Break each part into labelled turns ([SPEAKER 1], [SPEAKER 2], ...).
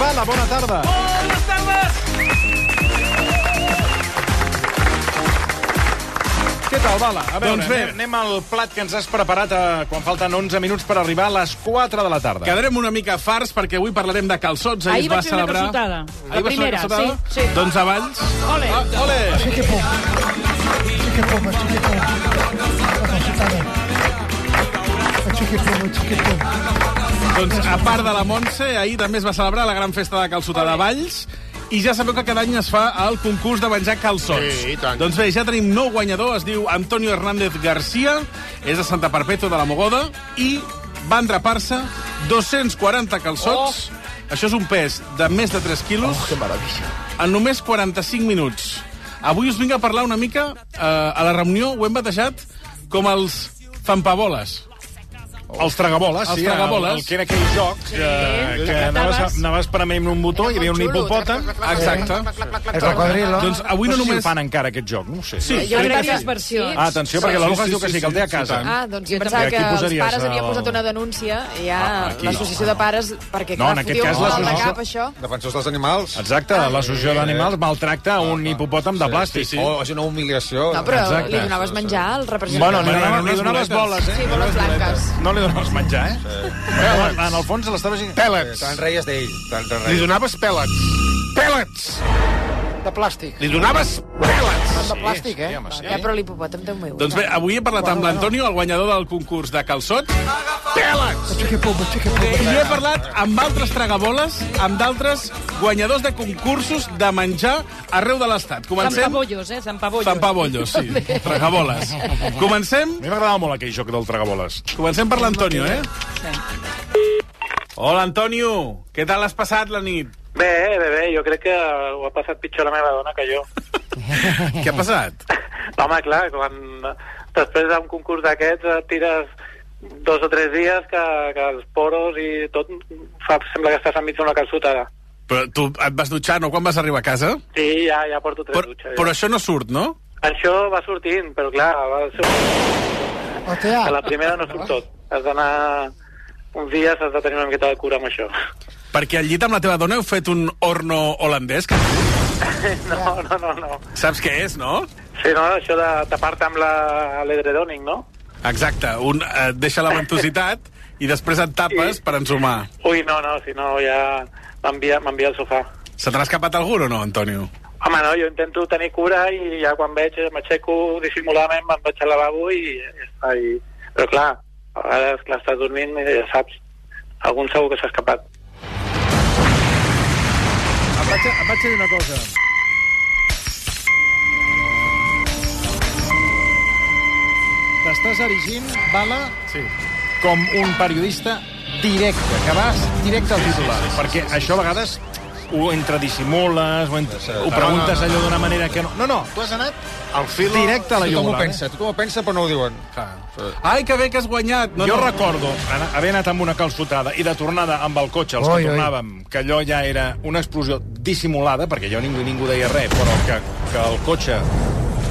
[SPEAKER 1] Bala, bona tarda.
[SPEAKER 2] Bones tardes!
[SPEAKER 1] Què tal, Bala? A veure,
[SPEAKER 3] Doncs bé.
[SPEAKER 1] anem- anem al plat que ens has preparat eh, quan falten 11 minuts per arribar a les 4 de la tarda.
[SPEAKER 3] Quedarem una mica farts perquè avui parlarem de calçots. Ahir,
[SPEAKER 2] Ahir
[SPEAKER 3] es va
[SPEAKER 2] vaig fer una
[SPEAKER 3] celebrar...
[SPEAKER 2] calçotada. La
[SPEAKER 3] Ahir vas fer una
[SPEAKER 2] primera,
[SPEAKER 3] calçotada?
[SPEAKER 2] sí, sí.
[SPEAKER 3] Doncs abans...
[SPEAKER 2] Ole!
[SPEAKER 3] Ah, ole!
[SPEAKER 4] Chiquipoma, chiquipoma. La calçotada. La chiquipoma, chiquipoma.
[SPEAKER 3] Doncs a part de la Montse, ahir també es va celebrar la gran festa de calçotada a Valls i ja sabeu que cada any es fa el concurs de menjar calçots.
[SPEAKER 5] Sí, i tant.
[SPEAKER 3] Doncs bé, ja tenim nou guanyador, es diu Antonio Hernández García, és de Santa Perpètua de la Mogoda, i va entrepar-se 240 calçots. Això és un pes de més de 3 quilos. Oh, que meravella. En només 45 minuts. Avui us vinc a parlar una mica, eh, a la reunió ho hem batejat com els zampaboles.
[SPEAKER 1] Els tragaboles,
[SPEAKER 3] Els
[SPEAKER 1] sí,
[SPEAKER 3] tragaboles.
[SPEAKER 1] El, el que era aquell joc sí. que, que
[SPEAKER 2] que
[SPEAKER 1] anaves, a,
[SPEAKER 2] anaves-
[SPEAKER 1] anaves prement un botó, hi havia un hipopòtam.
[SPEAKER 3] Exacte.
[SPEAKER 4] El cocodrilo.
[SPEAKER 3] Doncs avui no
[SPEAKER 1] no sé si
[SPEAKER 3] només...
[SPEAKER 1] el fan encara, aquest joc, no ho sé.
[SPEAKER 3] Sí,
[SPEAKER 6] Jo crec
[SPEAKER 3] crec que
[SPEAKER 6] que
[SPEAKER 3] sí.
[SPEAKER 6] és versió.
[SPEAKER 1] Ah, atenció, sí, perquè la Lucas
[SPEAKER 3] sí,
[SPEAKER 1] diu que
[SPEAKER 3] sí,
[SPEAKER 1] sí, que el té a
[SPEAKER 3] sí,
[SPEAKER 1] casa.
[SPEAKER 3] sí, tant.
[SPEAKER 6] Ah, doncs jo
[SPEAKER 1] Jo
[SPEAKER 6] pensava
[SPEAKER 1] també.
[SPEAKER 6] que
[SPEAKER 1] Aquí
[SPEAKER 6] els
[SPEAKER 1] posaries
[SPEAKER 6] pares havien
[SPEAKER 1] el-
[SPEAKER 6] posat una denúncia i ja
[SPEAKER 1] Ah, aquí.
[SPEAKER 6] l'associació de pares, perquè
[SPEAKER 1] No,
[SPEAKER 6] clar,
[SPEAKER 1] en aquest
[SPEAKER 6] fotia
[SPEAKER 1] cas,
[SPEAKER 6] un mal de
[SPEAKER 1] l'associació-
[SPEAKER 6] cap, això.
[SPEAKER 7] Defensors dels animals.
[SPEAKER 1] Exacte, l'associació d'animals maltracta un hipopòtam de plàstic. Oh.
[SPEAKER 3] Ah, sí, sí.
[SPEAKER 7] O Oh, és una humiliació.
[SPEAKER 6] No, però
[SPEAKER 1] Exacte.
[SPEAKER 6] li donaves menjar al representant.
[SPEAKER 1] Bueno, li
[SPEAKER 3] Bueno,
[SPEAKER 1] donaves,
[SPEAKER 3] unes
[SPEAKER 1] li donaves
[SPEAKER 3] boletes.
[SPEAKER 1] boles, eh?
[SPEAKER 6] Sí, boles blanques.
[SPEAKER 1] No li donaves menjar, eh? Sí. En el fons l'estaves...
[SPEAKER 5] Pèl·lets.
[SPEAKER 7] Te'n Eh, reies d'ell. Te'n te'n
[SPEAKER 5] Li
[SPEAKER 7] reies.
[SPEAKER 5] donaves pèl·lets. Pèl·lets!
[SPEAKER 6] De plàstic.
[SPEAKER 5] Li donaves pèl·lets!
[SPEAKER 6] De plàstic, eh?
[SPEAKER 1] sí, home, sí.
[SPEAKER 6] Ja, però l'hipopòtam té un meu.
[SPEAKER 3] Doncs bé, avui he parlat amb l'Antonio, el guanyador del concurs de calçot,
[SPEAKER 5] Pèl·lets!
[SPEAKER 4] Chiquipoma, chiquipoma.
[SPEAKER 3] i he parlat amb altres tragaboles, amb d'altres guanyadors de concursos de menjar arreu de l'estat. Comencem...
[SPEAKER 2] Zampabollos, eh? Zampabollos.
[SPEAKER 3] Zampabollos, sí. Tragaboles. Comencem...
[SPEAKER 1] A mi m'agradava molt aquell joc del tragaboles.
[SPEAKER 3] Comencem per l'Antonio, eh?
[SPEAKER 2] Sí.
[SPEAKER 3] Hola, Antonio. Què tal has passat la nit?
[SPEAKER 8] Bé, bé, bé, jo crec que ho ha passat pitjor la meva dona que jo.
[SPEAKER 3] Què ha passat?
[SPEAKER 8] Home, clar, quan després d'un concurs d'aquests eh, tires dos o tres dies que, que els poros i tot fa, sembla que estàs enmig d'una calçotada.
[SPEAKER 3] Però tu et vas dutxar, no? Quan vas arribar a casa?
[SPEAKER 8] Sí, ja, ja porto tres
[SPEAKER 3] Però,
[SPEAKER 8] dutxes.
[SPEAKER 3] però
[SPEAKER 8] Ja.
[SPEAKER 3] això no surt, no?
[SPEAKER 8] Això va sortint, però clar, va sortint,
[SPEAKER 4] Hòstia.
[SPEAKER 8] que la primera no surt tot. Has d'anar uns dies, has de tenir una miqueta de cura amb això.
[SPEAKER 3] Perquè al llit amb la teva dona heu fet un horno holandès, que
[SPEAKER 8] No, no, no, no.
[SPEAKER 3] saps què és, no?
[SPEAKER 8] Sí, no, això de tapar-te amb la- l'edredoning, no?
[SPEAKER 3] Exacte, un eh, deixa la ventositat i després et tapes
[SPEAKER 8] Sí.
[SPEAKER 3] per ensumar.
[SPEAKER 8] Ui, no, no, si no ja m'envia m'envia al sofà.
[SPEAKER 3] Se t'ha escapat algun o no, Antonio?
[SPEAKER 8] Home, no, jo intento tenir cura i ja quan veig eh, m'aixeco dissimuladament, me'n vaig al lavabo i ja està. I... Però clar, a vegades clar, estàs dormint i ja saps, algun segur que s'ha escapat.
[SPEAKER 1] Em vaig, a- em vaig a dir una cosa. T'estàs erigint, Bala, sí. com un periodista directe, que vas directe al titular. Sí, sí, sí, perquè sí, sí, això a vegades ho entredissimules, ho, entre... ho preguntes allò d'una manera que no... No, no, tu has anat al fil directe a la
[SPEAKER 7] Tothom ho
[SPEAKER 1] llum.
[SPEAKER 7] pensa, tothom ho pensa, però no ho diuen.
[SPEAKER 3] Ai, que bé que has guanyat! No,
[SPEAKER 1] jo
[SPEAKER 3] no.
[SPEAKER 1] recordo anar- haver anat amb una calçotada i de tornada amb el cotxe, els
[SPEAKER 4] Oi,
[SPEAKER 1] que
[SPEAKER 4] oi.
[SPEAKER 1] tornàvem, que allò ja era una explosió dissimulada, perquè jo ningú, ningú deia res, però que, que el cotxe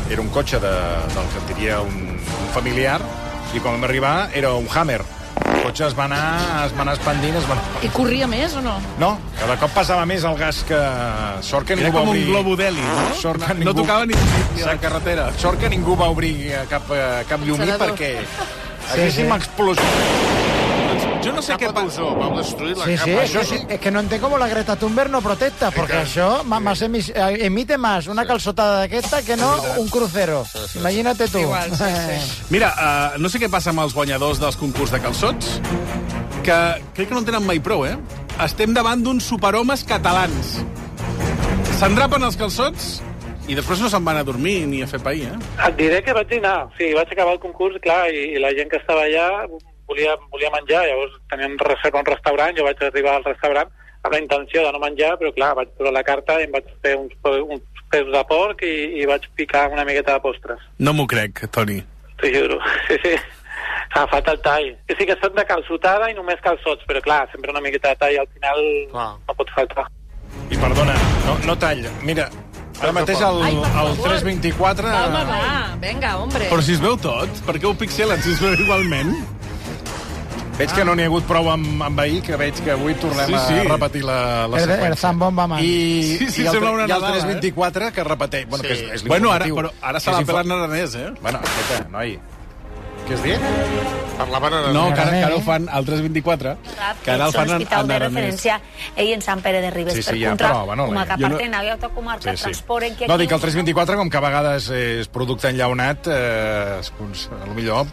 [SPEAKER 1] era un cotxe de, del que et diria un, un familiar, i quan vam arribar era un Hammer. El cotxe es va anar, es va anar expandint, es va anar...
[SPEAKER 2] I corria més o no?
[SPEAKER 1] No, cada cop passava més el gas que... Sort que
[SPEAKER 3] Era
[SPEAKER 1] ningú va
[SPEAKER 3] com un
[SPEAKER 1] obrir...
[SPEAKER 3] globo d'heli, no?
[SPEAKER 1] Sort que
[SPEAKER 3] No
[SPEAKER 1] ningú...
[SPEAKER 3] tocava ni, ni la
[SPEAKER 1] Exacte.
[SPEAKER 3] carretera.
[SPEAKER 1] Sort que ningú va obrir eh, cap, eh, cap llumí
[SPEAKER 6] Encendedor.
[SPEAKER 1] perquè haguéssim explosió.
[SPEAKER 3] Jo no sé què passa.
[SPEAKER 5] Pausó, vau destruir la
[SPEAKER 4] Sí, sí,
[SPEAKER 5] capa.
[SPEAKER 4] es que- es que no entiendo cómo la Greta Thunberg no protesta, porque eso ma- más emis- eh, emite más una calzotada de esta que no un crucero. Imagínate tú.
[SPEAKER 6] Igual, sí, sí.
[SPEAKER 3] Mira, uh, no sé què passa amb els guanyadors dels concurs de calçots, que crec que no en tenen mai prou, eh? Estem davant d'uns superhomes catalans. S'endrapen els calçots i després no se'n van a dormir ni a fer pair, eh?
[SPEAKER 8] Et diré que vaig dinar, sí, vaig acabar el concurs, clar, i, i la gent que estava allà volia, volia menjar, llavors teníem reserva a un restaurant, jo vaig arribar al restaurant amb la intenció de no menjar, però clar, vaig posar la carta i em vaig fer uns, pe- uns peus de porc i, i vaig picar una miqueta de postres.
[SPEAKER 3] No m'ho crec, Toni.
[SPEAKER 8] T'ho juro, sí, sí. Ha fet el tall. Que sí que soc de calçotada i només calçots, però clar, sempre una miqueta de tall al final
[SPEAKER 5] Clar.
[SPEAKER 8] no pot faltar.
[SPEAKER 1] I perdona, no, no tall. Mira, ara mateix el,
[SPEAKER 2] Ai, per
[SPEAKER 1] el
[SPEAKER 2] favor.
[SPEAKER 1] 324...
[SPEAKER 2] Va, home, va. Vinga, hombre.
[SPEAKER 3] Però si es veu tot, per què ho pixelen si es veu igualment?
[SPEAKER 1] Veig que no n'hi ha hagut prou amb, amb ahir, que veig que avui tornem
[SPEAKER 3] Sí, sí.
[SPEAKER 1] a repetir la, la
[SPEAKER 9] El, el
[SPEAKER 1] seqüència.
[SPEAKER 9] zambón va mal.
[SPEAKER 1] I,
[SPEAKER 3] Sí, sí,
[SPEAKER 1] i el,
[SPEAKER 3] sembla una
[SPEAKER 1] i el
[SPEAKER 3] Nadala,
[SPEAKER 1] 324 que repeteix. Bueno, que és, és
[SPEAKER 3] Bueno, ara,
[SPEAKER 1] l'informatiu.
[SPEAKER 3] però ara se
[SPEAKER 1] És
[SPEAKER 3] l'ha
[SPEAKER 1] info-
[SPEAKER 3] pelat en aranès, eh?
[SPEAKER 1] Bueno, escolta, noi. Què has dit?
[SPEAKER 7] Parlaven en...
[SPEAKER 3] No, que ara,
[SPEAKER 9] aranès.
[SPEAKER 3] que ara ho fan al 324,
[SPEAKER 10] Rap,
[SPEAKER 3] que ara el
[SPEAKER 10] ets
[SPEAKER 3] fan en,
[SPEAKER 10] l'hospital
[SPEAKER 3] en
[SPEAKER 10] de
[SPEAKER 3] aranès.
[SPEAKER 10] referència ell en Sant Pere de Ribes.
[SPEAKER 1] Sí, sí,
[SPEAKER 10] per
[SPEAKER 1] ja,
[SPEAKER 10] contra,
[SPEAKER 1] però, bueno,
[SPEAKER 10] com a
[SPEAKER 1] eh,
[SPEAKER 10] cap
[SPEAKER 3] jo
[SPEAKER 10] a
[SPEAKER 3] no-
[SPEAKER 10] tren, aviat a comarca, transporten... Que
[SPEAKER 1] No,
[SPEAKER 10] aquí-
[SPEAKER 1] dic que el 324, com que a vegades és producte enllaunat, eh, es cons- a lo millor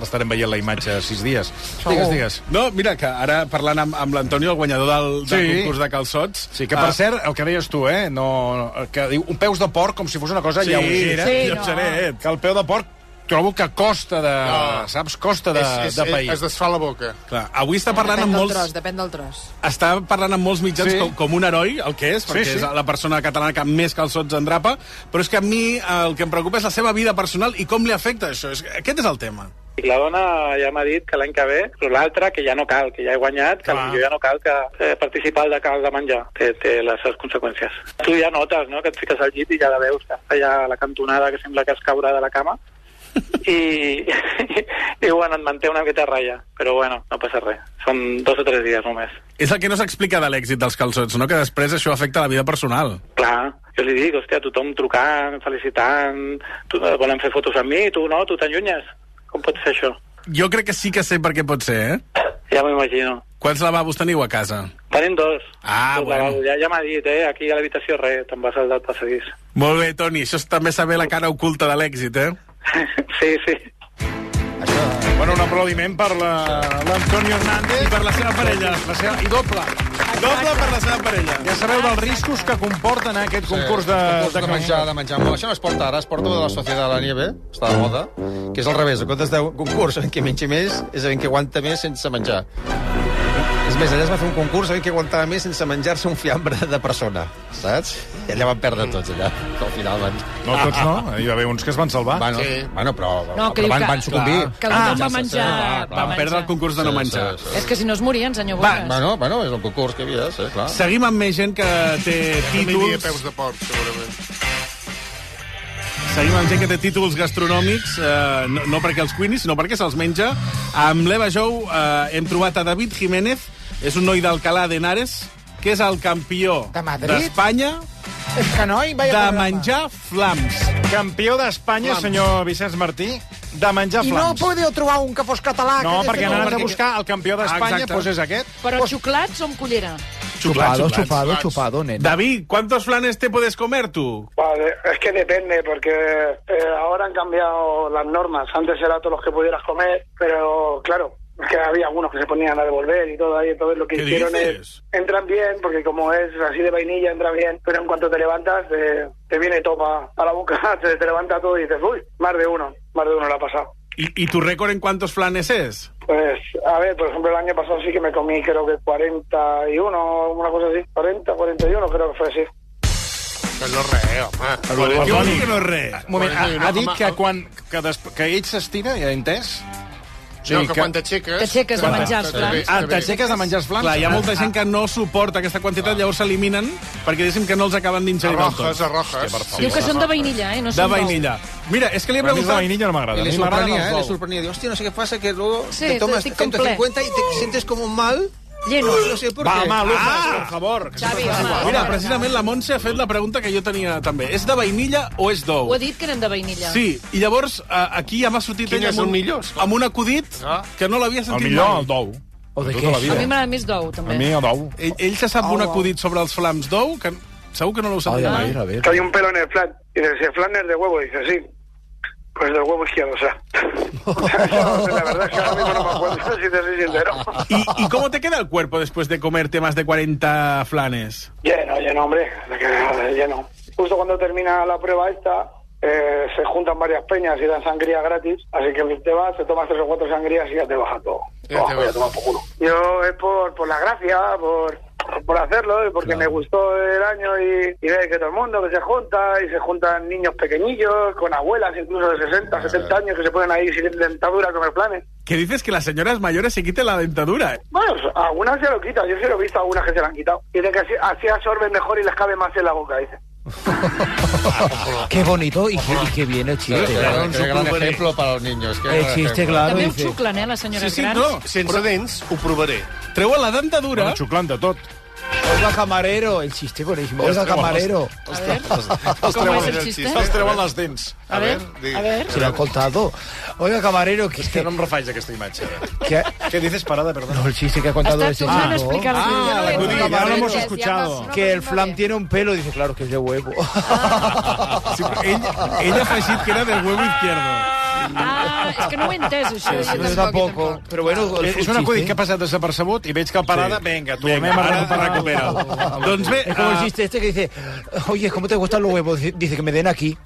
[SPEAKER 1] l'estarem veient la imatge sis dies. Digues, digues.
[SPEAKER 3] No, mira, que ara parlant amb, amb l'Antonio, el guanyador del, del
[SPEAKER 1] Sí.
[SPEAKER 3] concurs de calçots...
[SPEAKER 1] Sí, que per
[SPEAKER 3] ah,
[SPEAKER 1] cert, el que deies tu, eh, no, no, que diu un peus de porc com si fos una cosa
[SPEAKER 3] Sí,
[SPEAKER 1] lleugera.
[SPEAKER 3] sí,
[SPEAKER 1] Jo
[SPEAKER 3] no.
[SPEAKER 1] seré, Que el peu de porc trobo que costa de...
[SPEAKER 11] No.
[SPEAKER 1] Saps? Costa de,
[SPEAKER 11] és,
[SPEAKER 1] de pair.
[SPEAKER 11] es desfà la boca.
[SPEAKER 3] Clar, avui està parlant
[SPEAKER 12] Depèn
[SPEAKER 3] amb
[SPEAKER 12] del
[SPEAKER 3] molts...
[SPEAKER 12] tros, depèn del tros.
[SPEAKER 3] està parlant amb molts mitjans
[SPEAKER 1] Sí.
[SPEAKER 3] sí. com, com un heroi, el que és, perquè
[SPEAKER 1] Sí,
[SPEAKER 3] sí,
[SPEAKER 1] sí.
[SPEAKER 3] sí. és la persona catalana que més calçots endrapa, però és que a mi eh, el que em preocupa és la seva vida personal i com li afecta això. És, aquest és el tema.
[SPEAKER 13] I la dona ja m'ha dit que l'any que ve, però l'altra que ja no cal, que ja he guanyat, que potser ja no cal que eh, participar al de cal de menjar. Té, té les seves conseqüències. Tu ja notes, no?, que et fiques al llit i ja la veus, que està ja a la cantonada, que sembla que es caurà de la cama. I, i bueno, et manté una miqueta a ratlla. Però bueno, no passa res. Són dos o tres dies només.
[SPEAKER 3] És el que no s'explica de l'èxit dels calçots, no? que després això afecta la vida personal.
[SPEAKER 13] Clar, jo li dic, hòstia, tothom trucant, felicitant, tu, eh, volen fer fotos amb mi, tu no, tu t'allunyes. Com pot ser això?
[SPEAKER 3] Jo crec que sí que sé per què pot ser, eh?
[SPEAKER 13] Ja m'ho imagino.
[SPEAKER 3] Quants lavabos teniu a casa?
[SPEAKER 13] Tenim dos.
[SPEAKER 3] Ah,
[SPEAKER 13] dos
[SPEAKER 3] bueno.
[SPEAKER 13] lavabos. Ja, ja m'ha dit, eh? Aquí a l'habitació res, te'n vas al del passadís.
[SPEAKER 3] Molt bé, Toni, això és també saber la cara oculta de l'èxit, eh?
[SPEAKER 13] sí, sí.
[SPEAKER 1] Bueno, un aplaudiment per la- l'Antonio Hernández.
[SPEAKER 3] I per la seva parella.
[SPEAKER 1] La seva, I doble.
[SPEAKER 3] Doble per la seva parella.
[SPEAKER 1] Ja sabeu dels riscos que comporta anar a aquest concurs de,
[SPEAKER 7] Eh, concurs de,
[SPEAKER 1] de
[SPEAKER 7] menjar, de menjar. Bueno, això no es porta ara, es porta de la Societat de la Nieve, està de moda, que és al revés. En comptes d'un concurs en què mengi més, és en què aguanta més sense menjar. És més, allà es va fer un concurs en què aguantava més sense menjar-se un fiambre de persona, saps? I allà van perdre tots, allà, que al final van...
[SPEAKER 1] No, tots no. Hi va haver uns que es van salvar.
[SPEAKER 7] Bueno, sí. bueno però,
[SPEAKER 12] No, que
[SPEAKER 7] però
[SPEAKER 12] diu
[SPEAKER 7] van,
[SPEAKER 12] que-
[SPEAKER 7] van sucumbir.
[SPEAKER 12] que el tothom va
[SPEAKER 7] Menjar-se,
[SPEAKER 12] menjar-
[SPEAKER 7] sí, clar, clar.
[SPEAKER 12] va
[SPEAKER 3] Van perdre el concurs de no menjar.
[SPEAKER 7] Sí, sí,
[SPEAKER 12] És que si no es morien, senyor
[SPEAKER 3] Va,
[SPEAKER 12] Bones.
[SPEAKER 7] Bueno, bueno, és el concurs que hi havia, sí, clar.
[SPEAKER 3] Seguim amb més gent que té
[SPEAKER 11] Mídia
[SPEAKER 3] títols...
[SPEAKER 11] peus de porc, segurament.
[SPEAKER 3] Seguim amb gent que té títols gastronòmics, eh, no, no perquè els cuini, sinó perquè se'ls menja. Amb l'Eva Jou eh, hem trobat a David Jiménez, és un noi d'Alcalá de Henares, que és el campió
[SPEAKER 9] De Madrid?
[SPEAKER 3] d'Espanya
[SPEAKER 9] És que noi, vaya
[SPEAKER 3] de
[SPEAKER 9] programa.
[SPEAKER 3] menjar flams.
[SPEAKER 1] Campió d'Espanya,
[SPEAKER 3] Flams.
[SPEAKER 1] senyor Vicenç Martí, de menjar
[SPEAKER 9] I no
[SPEAKER 1] flams.
[SPEAKER 9] podeu trobar un que fos català.
[SPEAKER 1] no
[SPEAKER 9] que
[SPEAKER 1] perquè han
[SPEAKER 9] no,
[SPEAKER 1] anat a
[SPEAKER 9] perquè-
[SPEAKER 1] buscar el campió d'Espanya,
[SPEAKER 3] Exacte.
[SPEAKER 1] doncs és aquest.
[SPEAKER 6] Però xuclats o amb cullera?
[SPEAKER 3] Chupado,
[SPEAKER 4] chupado, chupado, nena.
[SPEAKER 3] David, ¿cuántos flanes te puedes comer tú?
[SPEAKER 8] Vale, es que depende, porque eh, ahora han cambiado las normas. Antes era todos los que pudieras comer, pero claro, es que había algunos que se ponían a devolver y todo ahí. Entonces lo que
[SPEAKER 3] ¿Qué
[SPEAKER 8] hicieron
[SPEAKER 3] dices?
[SPEAKER 8] es. Entran bien, porque como es así de vainilla, entra bien, pero en cuanto te levantas, eh, te viene topa a la boca, te, te levanta todo y dices, uy, más de uno, más de uno le ha pasado.
[SPEAKER 3] ¿Y, y tu récord en cuántos flanes es?
[SPEAKER 8] Pues, a ver, por ejemplo, el año pasado sí que me comí, creo que 41, una cosa así, 40, 41, creo que fue así.
[SPEAKER 11] Que no és res, home.
[SPEAKER 3] Yo creo que no es re.
[SPEAKER 1] Un moment, ha,
[SPEAKER 11] No,
[SPEAKER 1] ha dit
[SPEAKER 11] home,
[SPEAKER 1] que,
[SPEAKER 11] el-
[SPEAKER 1] quan, que, des, que ell s'estira, ja he entès? O
[SPEAKER 11] No, que quan t'aixeques...
[SPEAKER 12] T'aixeques de
[SPEAKER 11] Quan
[SPEAKER 12] menjar els
[SPEAKER 11] t'aixeques,
[SPEAKER 12] plans.
[SPEAKER 1] Ah,
[SPEAKER 11] t'aixeques.
[SPEAKER 1] t'aixeques de menjar els flans?
[SPEAKER 3] Clar, hi ha molta gent que no suporta aquesta
[SPEAKER 1] Ah.
[SPEAKER 3] quantitat, llavors s'eliminen perquè diguéssim que no els acaben d'ingerir del
[SPEAKER 11] Arrojes,
[SPEAKER 3] tot.
[SPEAKER 11] arrojes.
[SPEAKER 6] Diu que són de vainilla, eh? No
[SPEAKER 3] De
[SPEAKER 6] són d'ou.
[SPEAKER 3] vainilla. Mira, és que
[SPEAKER 1] A
[SPEAKER 3] li he
[SPEAKER 1] mi la
[SPEAKER 3] preguntat...
[SPEAKER 1] vainilla no m'agrada.
[SPEAKER 7] Y
[SPEAKER 1] A
[SPEAKER 7] le
[SPEAKER 1] mi m'agraden
[SPEAKER 7] sorprendía, ¿eh? Le
[SPEAKER 1] els ous.
[SPEAKER 7] sorprendía. Digo, hostia, no sé qué pasa, que luego
[SPEAKER 12] Sí,
[SPEAKER 7] te
[SPEAKER 12] te
[SPEAKER 7] tomas
[SPEAKER 12] estoy completo.
[SPEAKER 7] 150 y te sientes como mal.
[SPEAKER 12] Lleno.
[SPEAKER 7] No sé por
[SPEAKER 1] Va,
[SPEAKER 7] qué.
[SPEAKER 1] home, Lucas, per favor.
[SPEAKER 12] Xavi, home,
[SPEAKER 3] Ah! Mira,
[SPEAKER 12] home,
[SPEAKER 3] precisament la Montse ha fet la pregunta que jo tenia també. És de vainilla o és d'ou?
[SPEAKER 6] Ho he dit que eren de vainilla.
[SPEAKER 3] Sí, i llavors eh, aquí ja m'ha sortit
[SPEAKER 11] Quin
[SPEAKER 3] ella
[SPEAKER 11] és
[SPEAKER 3] amb
[SPEAKER 11] el
[SPEAKER 3] un,
[SPEAKER 11] millor, esclar.
[SPEAKER 3] amb un acudit
[SPEAKER 11] Ah.
[SPEAKER 3] que no l'havia
[SPEAKER 1] El
[SPEAKER 3] sentit
[SPEAKER 1] millor,
[SPEAKER 3] mai.
[SPEAKER 1] el d'ou.
[SPEAKER 9] O de
[SPEAKER 1] Tota la
[SPEAKER 9] què?
[SPEAKER 6] A mi
[SPEAKER 1] vida.
[SPEAKER 6] m'agrada més d'ou, també.
[SPEAKER 1] A mi, el d'ou.
[SPEAKER 3] Ell, ell se sap un acudit sobre els flams d'ou que segur que no l'heu
[SPEAKER 1] Oh,
[SPEAKER 3] sentit mai.
[SPEAKER 4] a ver.
[SPEAKER 8] Que hay un pelo en el flan. Y dice, ¿el flan es de huevo? Y dice, sí. Pues del huevo izquierdo, o sea. Eso, la verdad es que ahora mismo no me acuerdo, si te soy sincero.
[SPEAKER 3] ¿Y, ¿Y cómo te queda el cuerpo después de comerte más de 40 flanes?
[SPEAKER 8] Lleno, lleno, hombre. Lleno. Justo cuando termina la prueba esta, eh, se juntan varias peñas y dan sangría gratis. Así que te vas, te tomas tres o cuatro sangrías y ya te baja todo.
[SPEAKER 11] Ya te
[SPEAKER 8] Voy a
[SPEAKER 11] baja.
[SPEAKER 8] tomar por culo. Yo es por, por la gracia, por por hacerlo y porque me gustó el año y, y ver que todo el mundo que se junta y se juntan niños pequeñillos con abuelas incluso de 60, 70 años que se ponen ahí sin dentadura a comer planes.
[SPEAKER 3] Que dices que las señoras mayores se quiten la dentadura.
[SPEAKER 8] Bueno, algunas se lo quitan, yo se lo he visto a algunas que se la han quitado. Dicen que así, así absorben mejor y les cabe más en la boca, dicen.
[SPEAKER 4] Qué bonito y qué, y qué bien el chiste.
[SPEAKER 7] Era un gran ejemplo para los niños. que
[SPEAKER 4] El
[SPEAKER 7] gran
[SPEAKER 4] chiste,
[SPEAKER 7] ejemplo.
[SPEAKER 4] claro,
[SPEAKER 6] També ho
[SPEAKER 4] dice.
[SPEAKER 6] xuclen, eh, les senyores
[SPEAKER 3] Sí, sí,
[SPEAKER 6] grans.
[SPEAKER 3] no.
[SPEAKER 11] Sense
[SPEAKER 3] Però-
[SPEAKER 11] dents, ho provaré.
[SPEAKER 3] Treuen la dentadura...
[SPEAKER 1] Bueno, xuclant de tot.
[SPEAKER 4] Oiga, camarero, el chiste buenísimo. Oiga, camarero.
[SPEAKER 6] A ver, com és el xiste?
[SPEAKER 1] Es treuen les dents.
[SPEAKER 6] A ver, a ver.
[SPEAKER 4] Se lo han contado. Oiga, camarero, que,
[SPEAKER 1] Que no em refaig aquesta imatge.
[SPEAKER 4] que-
[SPEAKER 1] Què dices, parada, perdó?
[SPEAKER 4] No, el chiste que ha contado
[SPEAKER 6] Estàs
[SPEAKER 4] ese
[SPEAKER 6] tornant a
[SPEAKER 4] chico.
[SPEAKER 6] explicar el que
[SPEAKER 1] Ah, la
[SPEAKER 6] jo no he
[SPEAKER 1] codilla,
[SPEAKER 6] entès.
[SPEAKER 1] ya lo hemos
[SPEAKER 12] Decías,
[SPEAKER 1] escuchado.
[SPEAKER 12] ambas,
[SPEAKER 4] Que el
[SPEAKER 12] no,
[SPEAKER 4] flam
[SPEAKER 12] no,
[SPEAKER 4] tiene un pelo, dice, claro que es de huevo.
[SPEAKER 3] Sí, però ell, ell ha afegit que era del huevo izquierdo.
[SPEAKER 6] Ah, és que no ho he entès, això. eh,
[SPEAKER 12] Sí, sí,
[SPEAKER 6] Jo
[SPEAKER 4] Yo tampoco. Pero bueno,
[SPEAKER 1] Eh, És un acudit que ha passat desapercebut i veig que el parada...
[SPEAKER 3] Sí.
[SPEAKER 1] Vinga, tu,
[SPEAKER 3] Vinga,
[SPEAKER 1] anem a
[SPEAKER 3] ara
[SPEAKER 1] recuperar.
[SPEAKER 3] recupera'l. doncs bé,
[SPEAKER 4] Es como el
[SPEAKER 3] ah,
[SPEAKER 4] chiste este que dice, oye, ¿cómo te gustan los huevos? Dice- Dice que me den aquí.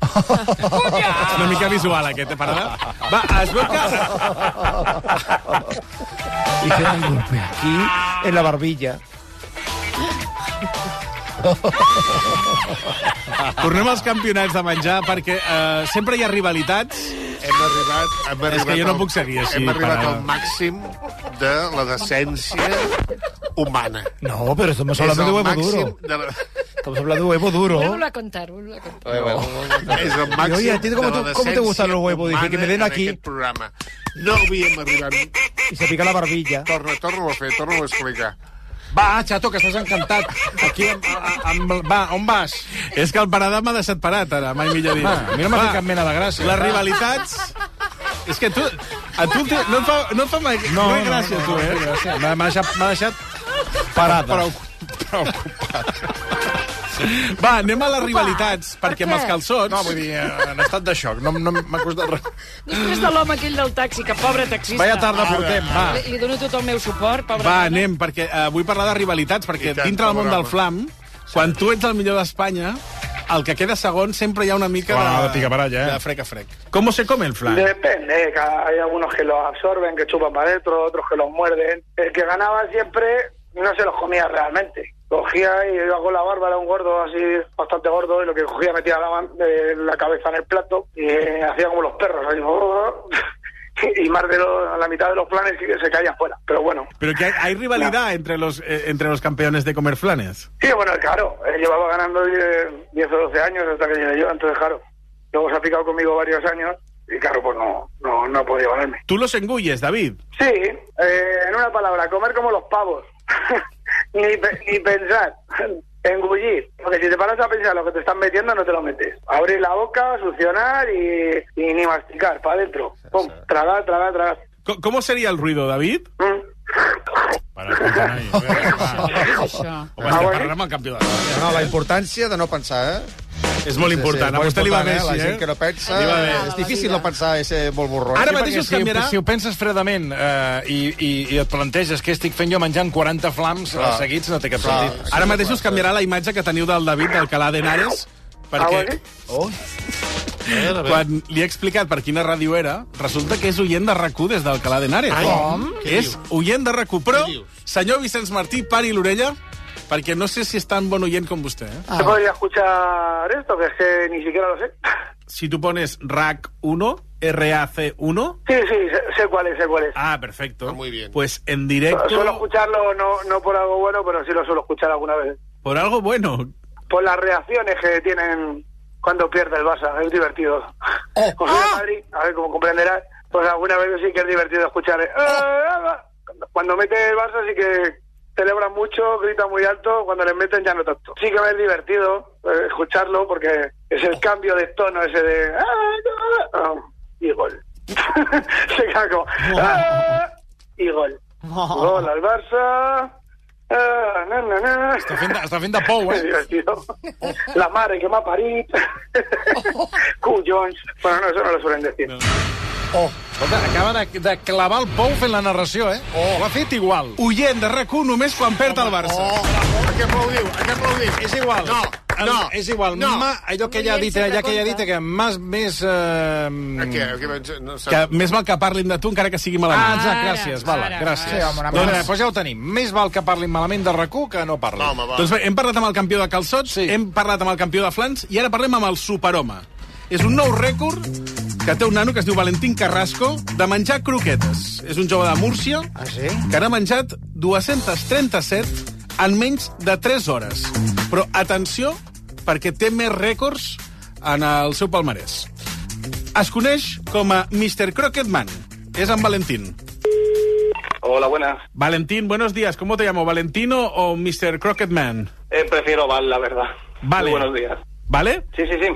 [SPEAKER 3] és una mica visual aquest, eh, parada. Va, es veu que...
[SPEAKER 4] Y que da un golpe aquí, en la barbilla.
[SPEAKER 3] Tornem als campionats de menjar, perquè eh, sempre hi ha rivalitats.
[SPEAKER 11] Hem arribat... Hem arribat
[SPEAKER 3] que jo no
[SPEAKER 11] al-
[SPEAKER 3] puc seguir així,
[SPEAKER 11] Hem arribat
[SPEAKER 3] parada.
[SPEAKER 11] al màxim de la decència humana.
[SPEAKER 4] No, pero estamos
[SPEAKER 11] És
[SPEAKER 4] hablando de
[SPEAKER 11] el
[SPEAKER 4] huevo
[SPEAKER 11] màxim
[SPEAKER 4] duro.
[SPEAKER 11] de la...
[SPEAKER 4] Estamos hablando de huevo duro.
[SPEAKER 6] Vuelvo a contar, vuelvo a contar.
[SPEAKER 7] Eh, bueno,
[SPEAKER 11] És el màxim
[SPEAKER 4] Oye, ¿a ti cómo
[SPEAKER 11] de la
[SPEAKER 4] te- cómo te gustan los huevos? Dice,
[SPEAKER 11] decència
[SPEAKER 4] que me den
[SPEAKER 11] humana
[SPEAKER 4] aquí.
[SPEAKER 11] En aquest programa. No havíem arribat...
[SPEAKER 4] Y se pica la barbilla.
[SPEAKER 11] Torna, torna a fer, torna a explicar.
[SPEAKER 1] Va, Chato, que estàs encantat. Aquí, amb, amb, va, on vas?
[SPEAKER 3] És que el Paradà m'ha deixat parat, ara, mai millor dit.
[SPEAKER 1] Va, a mi no m'ha fet cap mena de gràcia.
[SPEAKER 3] Les
[SPEAKER 1] Va.
[SPEAKER 3] rivalitats... És que tu... A tu te, no, et fa, no et fa mai... No, no, gràcia,
[SPEAKER 1] no,
[SPEAKER 3] tu,
[SPEAKER 1] no,
[SPEAKER 3] eh?
[SPEAKER 1] gràcia. M'ha m'ha deixat, m'ha deixat
[SPEAKER 4] Parada.
[SPEAKER 3] Va, anem a les rivalitats, perquè amb els calçots...
[SPEAKER 1] No, vull dir, eh, en estat de xoc. No, no m'ha costat res.
[SPEAKER 6] Després de l'home aquell del taxi, que pobre taxista.
[SPEAKER 1] Vaya tarda portem, va.
[SPEAKER 6] Li, li dono tot el meu suport, pobre
[SPEAKER 3] Va,
[SPEAKER 6] home.
[SPEAKER 3] anem, perquè eh, vull parlar de rivalitats, perquè
[SPEAKER 11] I tant,
[SPEAKER 3] dintre del món del
[SPEAKER 11] favorable.
[SPEAKER 3] flam, quan tu ets el millor d'Espanya, el que queda segon sempre hi ha una mica
[SPEAKER 1] Bueno,
[SPEAKER 3] de...
[SPEAKER 1] de picabaralla, eh?
[SPEAKER 3] De frec a frec. ¿Cómo se come el flam?
[SPEAKER 8] Depende, que hay algunos que los absorben, que chupan para adentro, otros que los muerden. El que ganaba siempre no se los comía realmente. Cogía y iba con la barba, era un gordo así, bastante gordo, y lo que cogía metía la, man- eh, la cabeza en el plato y eh, hacía como los perros, así, y más de lo- la mitad de los planes que se caían fuera. Pero bueno,
[SPEAKER 3] Pero que hay, hay rivalidad entre, los, eh, entre los campeones de comer flanes.
[SPEAKER 8] Sí, bueno, claro, él llevaba ganando 10, 10 o 12 años hasta que llegué yo, entonces claro, luego se ha picado conmigo varios años y claro, pues no, no, no ha podido ganarme.
[SPEAKER 3] Tú los engulles, David.
[SPEAKER 8] Sí, eh, en una palabra, comer como los pavos, ni, pe- ni pensar, engullir, porque si te paras a pensar lo que te están metiendo no te lo metes. Abrir la boca, succionar y, y ni masticar, para adentro, pum, tragar, tragar, tragar.
[SPEAKER 3] Co- ¿Cómo sería el ruido, David?
[SPEAKER 8] Mm.
[SPEAKER 1] Para, escolta, noi, a veure, va.
[SPEAKER 6] Què és això?
[SPEAKER 1] Ah,
[SPEAKER 3] Home, estem
[SPEAKER 8] bueno.
[SPEAKER 3] parlant amb el campió de...
[SPEAKER 7] No, la importància de no pensar, eh?
[SPEAKER 3] És molt important. a vostè li va bé,
[SPEAKER 7] eh? La
[SPEAKER 3] sí,
[SPEAKER 7] gent que
[SPEAKER 3] eh?
[SPEAKER 7] no pensa...
[SPEAKER 3] Li va bé.
[SPEAKER 7] És difícil no pensar i ser molt borró.
[SPEAKER 3] Ara
[SPEAKER 1] Sí,
[SPEAKER 3] mateix
[SPEAKER 1] perquè
[SPEAKER 3] us canviarà...
[SPEAKER 1] Si, si ho penses fredament eh, i, i, i et planteges què estic fent jo menjant 40 flams ah.
[SPEAKER 7] Clar.
[SPEAKER 1] seguits, no té cap
[SPEAKER 7] Clar.
[SPEAKER 1] sentit.
[SPEAKER 3] Ara mateix us canviarà la imatge que teniu del David d'Alcalà de Henares, perquè
[SPEAKER 8] Ah,
[SPEAKER 3] quan li he explicat per quina ràdio era, resulta que és oient de RAC1 des d'Alcalà de Henares. Com? És oient de RAC1, però senyor Vicenç Martí, pari l'orella, perquè no sé si és tan bon oient com vostè. Eh?
[SPEAKER 8] Yo podría escuchar esto, que es que ni siquiera lo sé.
[SPEAKER 3] Si tu pones RAC1, R-A-C1...
[SPEAKER 8] Sí, sí, sé, sé cuál es, sé cuál es.
[SPEAKER 3] Ah, perfecto.
[SPEAKER 11] muy bien.
[SPEAKER 3] Pues en
[SPEAKER 1] eh,
[SPEAKER 3] directo,
[SPEAKER 8] Suelo escucharlo no, no por algo bueno, pero sí lo suelo escuchar alguna vez.
[SPEAKER 3] por algo bueno.
[SPEAKER 8] Por las reacciones que tienen cuando pierde el Barça, es divertido. Con el Madrid, a ver, como comprenderás, pues alguna vez sí que es divertido escuchar. eh, cuando- Cuando mete el Barça sí que celebran mucho, grita muy alto, cuando les meten ya no tanto. Sí que es divertido eh, escucharlo porque es el cambio de tono ese de... ah, y gol. Se queda como... ah, y gol. Gol al Barça. ah, na, na, na.
[SPEAKER 1] Està fent, de- està fent de pou,
[SPEAKER 8] Muy
[SPEAKER 1] eh?
[SPEAKER 8] divertido. La madre que me ha parido. Cool Jones. Bueno, no, eso no lo suelen decir.
[SPEAKER 1] Oh. Escolta, acaba de, de clavar el pou fent la narració, eh? Oh. L'ha fet igual.
[SPEAKER 3] Oient de RAC1 només quan perd el Barça.
[SPEAKER 11] Oh, a què aplaudiu? A què aplaudiu?
[SPEAKER 1] oh. És igual.
[SPEAKER 11] No,
[SPEAKER 1] El-
[SPEAKER 11] no.
[SPEAKER 1] És igual.
[SPEAKER 11] No.
[SPEAKER 1] Ma, allò que ella ha dit, allà que ella ha dit, que més... més
[SPEAKER 11] A què?
[SPEAKER 1] eh,
[SPEAKER 11] A què vaig... No,
[SPEAKER 3] Que
[SPEAKER 11] saps?
[SPEAKER 3] més val que parlin de tu encara que sigui
[SPEAKER 1] Ah,
[SPEAKER 3] malament.
[SPEAKER 1] exacte,
[SPEAKER 6] Ara,
[SPEAKER 1] gràcies, val,
[SPEAKER 6] ara,
[SPEAKER 1] gràcies.
[SPEAKER 6] ara.
[SPEAKER 1] Sí, home, doncs, doncs ja ho tenim. Més val que parlin malament de RAC1 que no parlin.
[SPEAKER 11] No, home, va.
[SPEAKER 3] Doncs bé, hem parlat amb el campió de calçots, sí.
[SPEAKER 1] Sí.
[SPEAKER 3] hem parlat amb el campió de flans i ara parlem amb el superhome. És un nou rècord que té un nano que es diu Valentín Carrasco de menjar croquetes. És un jove de Múrcia
[SPEAKER 9] Ah, sí?
[SPEAKER 3] que n'ha menjat 237 en menys de 3 hores. Però atenció, perquè té més rècords en el seu palmarès. Es coneix com a Mr. Crocketman. És en Valentín.
[SPEAKER 8] Hola, buenas.
[SPEAKER 3] Valentín, buenos días. ¿Cómo te llamo? ¿Valentino o Mr. Crocketman?
[SPEAKER 8] Eh, prefiero Val, la verdad.
[SPEAKER 3] Vale.
[SPEAKER 8] Muy buenos días.
[SPEAKER 3] ¿Vale?
[SPEAKER 8] Sí, sí, sí.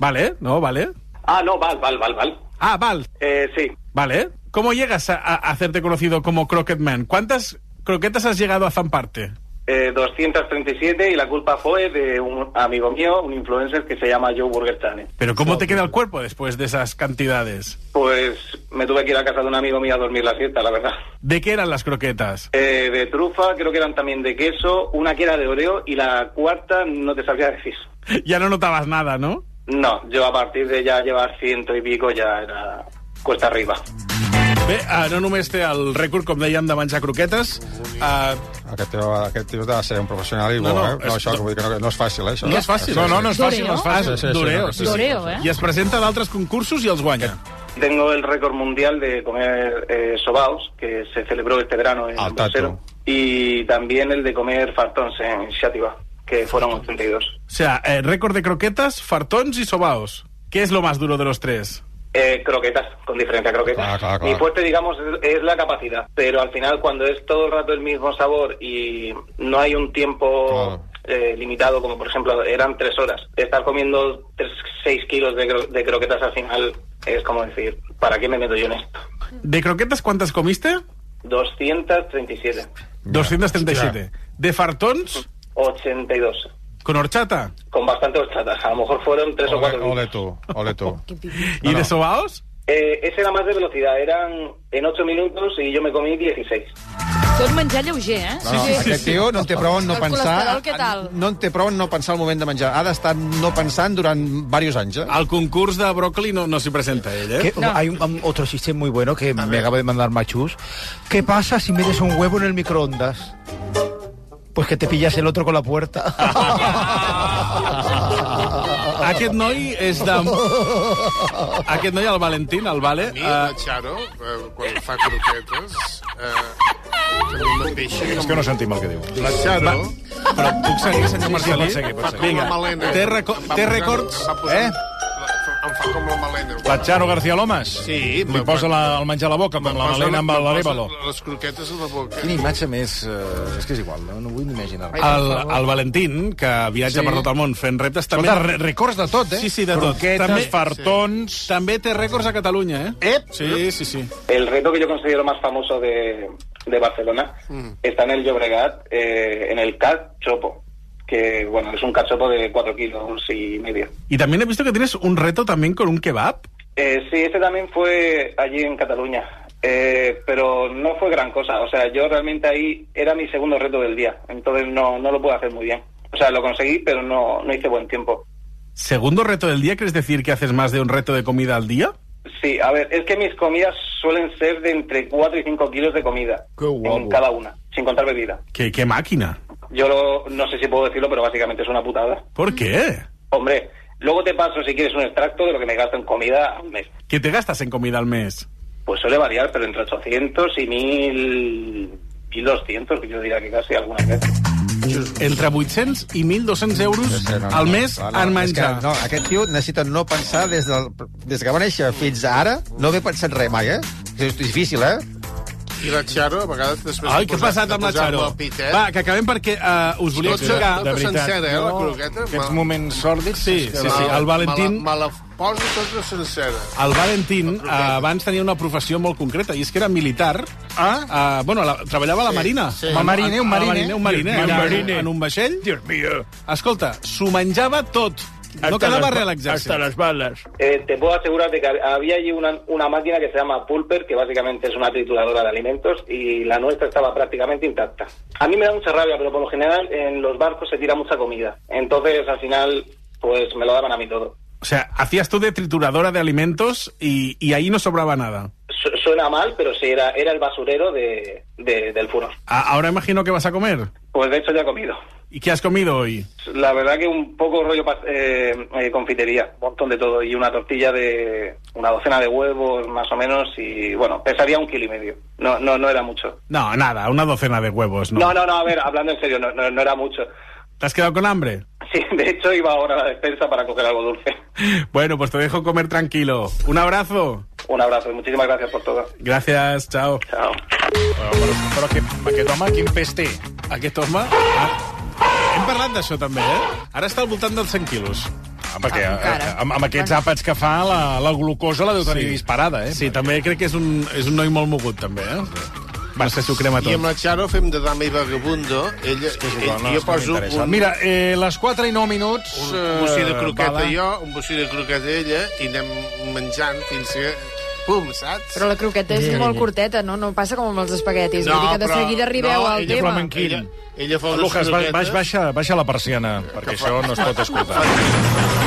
[SPEAKER 3] ¿Vale? ¿No? ¿Vale?
[SPEAKER 8] Ah, no, Val, Val, Val, Val.
[SPEAKER 3] Ah, Val.
[SPEAKER 8] Eh, sí.
[SPEAKER 3] ¿Vale? ¿Cómo llegas a, a- a hacerte conocido como Crocketman? ¿Cuántas croquetas has llegado a zamparte?
[SPEAKER 8] Eh, 237 y la culpa fue de un amigo mío, un influencer que se llama Joe Burger Channel.
[SPEAKER 3] ¿Pero cómo te queda el cuerpo después de esas cantidades?
[SPEAKER 8] Pues me tuve que ir a casa de un amigo mío a dormir la siesta, la verdad.
[SPEAKER 3] ¿De qué eran las croquetas?
[SPEAKER 8] Eh, de trufa, creo que eran también de queso, una que era de oreo y la cuarta no te sabría decir.
[SPEAKER 3] Ya no notabas nada, ¿no?
[SPEAKER 8] No, yo a partir de ya llevar ciento y pico ya era cuesta arriba.
[SPEAKER 3] Bé, eh, no només té el rècord, com dèiem, de menjar croquetes. Eh,
[SPEAKER 7] Aquest tio, aquest tio ha de ser un professional i
[SPEAKER 3] No,
[SPEAKER 7] bo,
[SPEAKER 3] no,
[SPEAKER 7] eh? No,
[SPEAKER 3] és-
[SPEAKER 7] això, que vull dir que no, no és fàcil, eh? Això.
[SPEAKER 3] no és fàcil.
[SPEAKER 7] Sí, sí.
[SPEAKER 3] Ah, D'oreo.
[SPEAKER 7] no,
[SPEAKER 3] sí, sí.
[SPEAKER 6] D'oreo, eh?
[SPEAKER 3] I es presenta a d'altres concursos i els guanya.
[SPEAKER 8] Tengo el récord mundial de comer eh, sobaos, que se celebró este verano
[SPEAKER 3] Ah,
[SPEAKER 8] en
[SPEAKER 7] Al
[SPEAKER 8] Bruselas,
[SPEAKER 7] tato.
[SPEAKER 8] y también el de comer fartons en Xativa, que fueron 82.
[SPEAKER 3] O sea, eh, récord de croquetas, fartons y sobaos. ¿Qué es lo más duro de los tres?
[SPEAKER 8] Eh, croquetas, con diferencia croquetas.
[SPEAKER 3] Claro, claro, claro.
[SPEAKER 8] Mi fuerte, digamos, es, es la capacidad, pero al final cuando es todo el rato el mismo sabor y no hay un tiempo eh, limitado, como por ejemplo eran tres horas, estar comiendo tres, seis kilos de, cro- de croquetas al final es como decir, ¿para qué me meto yo en esto?
[SPEAKER 3] ¿De croquetas cuántas comiste?
[SPEAKER 8] 237.
[SPEAKER 3] 237. ¿De fartons?
[SPEAKER 8] 82.
[SPEAKER 3] ¿Con horchata?
[SPEAKER 8] Con bastante horchata. A lo mejor fueron tres o cuatro.
[SPEAKER 7] Ole tu, ole tu.
[SPEAKER 3] ¿Y de sobaos?
[SPEAKER 8] Eh, ese era más de velocidad. Eran en 8 minutos y yo me comí 16.
[SPEAKER 6] Tot menjar lleuger, eh?
[SPEAKER 7] No, no, aquest tio no en té prou en no
[SPEAKER 6] El
[SPEAKER 7] pensar...
[SPEAKER 6] colesterol, què tal?
[SPEAKER 7] No en té prou en no pensar al moment de menjar. Ha d'estar no pensant durant diversos anys, eh?
[SPEAKER 3] Al concurs de brócoli no, no s'hi presenta ell, eh?
[SPEAKER 4] Que- Hay un, un- otro chiste muy bueno que me acaba de mandar Machus. ¿Qué pasa si metes un huevo en el microondas? Pues que te pillas el otro con la puerta.
[SPEAKER 3] Aquest noi és de... Aquest noi, el Valentín, el Vale...
[SPEAKER 11] mi, la Charo, eh, quan fa croquetes... Eh, que a mi mateixa...
[SPEAKER 1] És que no sentim el que diu.
[SPEAKER 11] La Charo...
[SPEAKER 3] Però puc seguir, senyor Marcelí?
[SPEAKER 1] pot seguir, pot seguir.
[SPEAKER 11] Com la Malena.
[SPEAKER 3] Vinga, té, reco
[SPEAKER 11] Em va
[SPEAKER 3] té
[SPEAKER 11] posar-
[SPEAKER 3] records...
[SPEAKER 11] em va posar-
[SPEAKER 3] Eh?
[SPEAKER 11] la- Em fa com la Malena.
[SPEAKER 1] La Charo García Lomas?
[SPEAKER 11] Sí.
[SPEAKER 1] Li posa la, el menjar a la boca, com la
[SPEAKER 11] Posa-
[SPEAKER 1] Malena amb
[SPEAKER 11] em posa
[SPEAKER 1] l'Arevalo.
[SPEAKER 11] Les croquetes a la boca.
[SPEAKER 1] Quina imatge més... Eh, és que és igual, no, no vull ni imaginar-me.
[SPEAKER 3] El, el Valentín, que viatja
[SPEAKER 1] Sí.
[SPEAKER 3] per tot el món fent reptes... També...
[SPEAKER 1] Escolta, re- records de tot, eh?
[SPEAKER 3] Sí, sí, de tot.
[SPEAKER 1] Croquetes,
[SPEAKER 3] fartons... Sí. També té rècords a Catalunya, eh? Ep! Sí, sí, sí.
[SPEAKER 8] El reto que yo considero más famoso de, de Barcelona está en el Llobregat, eh, en el cachopo. Que, bueno, es un cachopo de 4 kilos y medio.
[SPEAKER 3] Y también he visto que tienes un reto también con un kebab.
[SPEAKER 8] Eh, sí, ese también fue allí en Cataluña. Eh, pero no fue gran cosa. O sea, yo realmente ahí era mi segundo reto del día. Entonces no, no lo pude hacer muy bien. O sea, lo conseguí, pero no, no hice buen tiempo.
[SPEAKER 3] ¿Segundo reto del día? ¿Quieres decir que haces más de un reto de comida al día?
[SPEAKER 8] Sí, a ver, es que mis comidas suelen ser de entre 4 y 5 kilos de comida. En cada una, sin contar bebida.
[SPEAKER 3] ¿Qué, qué máquina?
[SPEAKER 8] Yo lo- no sé si puedo decirlo, pero básicamente es una putada.
[SPEAKER 3] ¿Por qué?
[SPEAKER 8] Hombre, luego te paso, si quieres, un extracto de lo que me gasto en comida a un mes.
[SPEAKER 3] ¿Qué te gastas en comida al mes?
[SPEAKER 8] Pues suele variar, pero entre 800 y 1000... 1.200, que yo diría que casi alguna vez.
[SPEAKER 3] Entre 800 i 1.200 euros al mes en menjar.
[SPEAKER 7] És que, no, aquest tio necessita no pensar des, del, des que va néixer fins ara, no haver pensat res mai, eh? És difícil, eh?
[SPEAKER 11] I la Charo, a vegades després...
[SPEAKER 3] Ai,
[SPEAKER 11] de
[SPEAKER 3] què ha
[SPEAKER 11] posar-
[SPEAKER 3] passat
[SPEAKER 11] de
[SPEAKER 3] amb la Charo?
[SPEAKER 11] posar-me el Pit, eh?
[SPEAKER 3] Va, que acabem perquè uh, us volia
[SPEAKER 11] Tot serà
[SPEAKER 3] explicar...
[SPEAKER 11] tota sencera, eh, la croqueta,
[SPEAKER 1] Aquests
[SPEAKER 11] mal.
[SPEAKER 1] moments sòrdids...
[SPEAKER 3] Sí,
[SPEAKER 1] és que
[SPEAKER 3] sí,
[SPEAKER 1] la-
[SPEAKER 3] sí, el Valentín...
[SPEAKER 11] Me la, me la poso tota sencera.
[SPEAKER 3] El Valentín eh, abans tenia una professió molt concreta, i és que era militar. Ah? Eh, bueno, la, treballava a la
[SPEAKER 1] Sí,
[SPEAKER 3] Marina.
[SPEAKER 1] sí. Un mariner, un
[SPEAKER 3] A la
[SPEAKER 1] mariner.
[SPEAKER 3] Un mariner,
[SPEAKER 1] Dios
[SPEAKER 3] era
[SPEAKER 1] mío. Mariner.
[SPEAKER 3] en un vaixell. Dios mío. Escolta, s'ho menjava tot. No
[SPEAKER 1] Hasta
[SPEAKER 3] quedava
[SPEAKER 1] las-
[SPEAKER 3] res a l'exèrcit.
[SPEAKER 1] hasta las
[SPEAKER 3] bales.
[SPEAKER 8] Eh, te puedo asegurar de que había allí una, una máquina que se llama Pulper, que básicamente es una trituradora de alimentos, y la nuestra estaba prácticamente intacta. A mí me da mucha rabia, pero por lo general en los barcos se tira mucha comida. Entonces, al final, pues me lo daban a mí todo.
[SPEAKER 3] O sea, hacías tú de trituradora de alimentos y, y ahí no sobraba nada.
[SPEAKER 8] Su- suena mal, pero sí, era, era el basurero de, de- del furor.
[SPEAKER 3] A- ahora imagino que vas a comer.
[SPEAKER 8] Pues de hecho ya he comido.
[SPEAKER 3] ¿Y qué has comido hoy?
[SPEAKER 8] La verdad que un poco rollo pas- eh, eh, confitería, un montón de todo, y una tortilla de una docena de huevos más o menos, y bueno, pesaría un kilo y medio. No, no, no era mucho.
[SPEAKER 3] No, nada, una docena de huevos, ¿no?
[SPEAKER 8] No, no, no, a ver, hablando en serio, no, no, no era mucho.
[SPEAKER 3] ¿Te has quedado con hambre?
[SPEAKER 8] Sí, de hecho iba ahora a la despensa para coger algo dulce.
[SPEAKER 3] Bueno, pues te dejo comer tranquilo. Un abrazo.
[SPEAKER 8] Un abrazo y muchísimas gracias por todo.
[SPEAKER 3] Gràcies, ciao.
[SPEAKER 8] Ciao.
[SPEAKER 1] Però, però aquest, aquest home, quin pes té?
[SPEAKER 3] Aquest home... Ah, hem parlat d'això també, eh? Ara està al voltant dels 100 quilos.
[SPEAKER 1] Ah, perquè eh, amb, amb aquests àpats que fa, la, la glucosa la deu tenir sí. disparada, eh?
[SPEAKER 3] Sí, també crec que és un, és un noi molt mogut, també, eh? Va, se s'ho crema
[SPEAKER 11] I
[SPEAKER 3] tot.
[SPEAKER 11] amb la Charo fem de dama i vagabundo. Ella,
[SPEAKER 1] no,
[SPEAKER 11] ell,
[SPEAKER 1] Doncs.
[SPEAKER 11] jo
[SPEAKER 1] és que
[SPEAKER 11] poso
[SPEAKER 1] m'interessa.
[SPEAKER 11] un,
[SPEAKER 1] Mira, eh, les 4 i 9 minuts... eh,
[SPEAKER 11] un bocí de croqueta
[SPEAKER 1] Bala.
[SPEAKER 11] jo, un bocí de croqueta ella, i anem menjant fins que... Pum, saps?
[SPEAKER 6] Però la croqueta és
[SPEAKER 11] Sí.
[SPEAKER 6] molt curteta, no? No passa com amb els espaguetis. No, Vull dir que de seguida arribeu
[SPEAKER 11] no,
[SPEAKER 6] al
[SPEAKER 11] ella
[SPEAKER 6] tema.
[SPEAKER 11] fa manquín. Ella, ella fa unes
[SPEAKER 1] Lucas, baix,
[SPEAKER 11] croquetes...
[SPEAKER 1] baix, baixa, baixa la persiana, perquè això no es pot escoltar.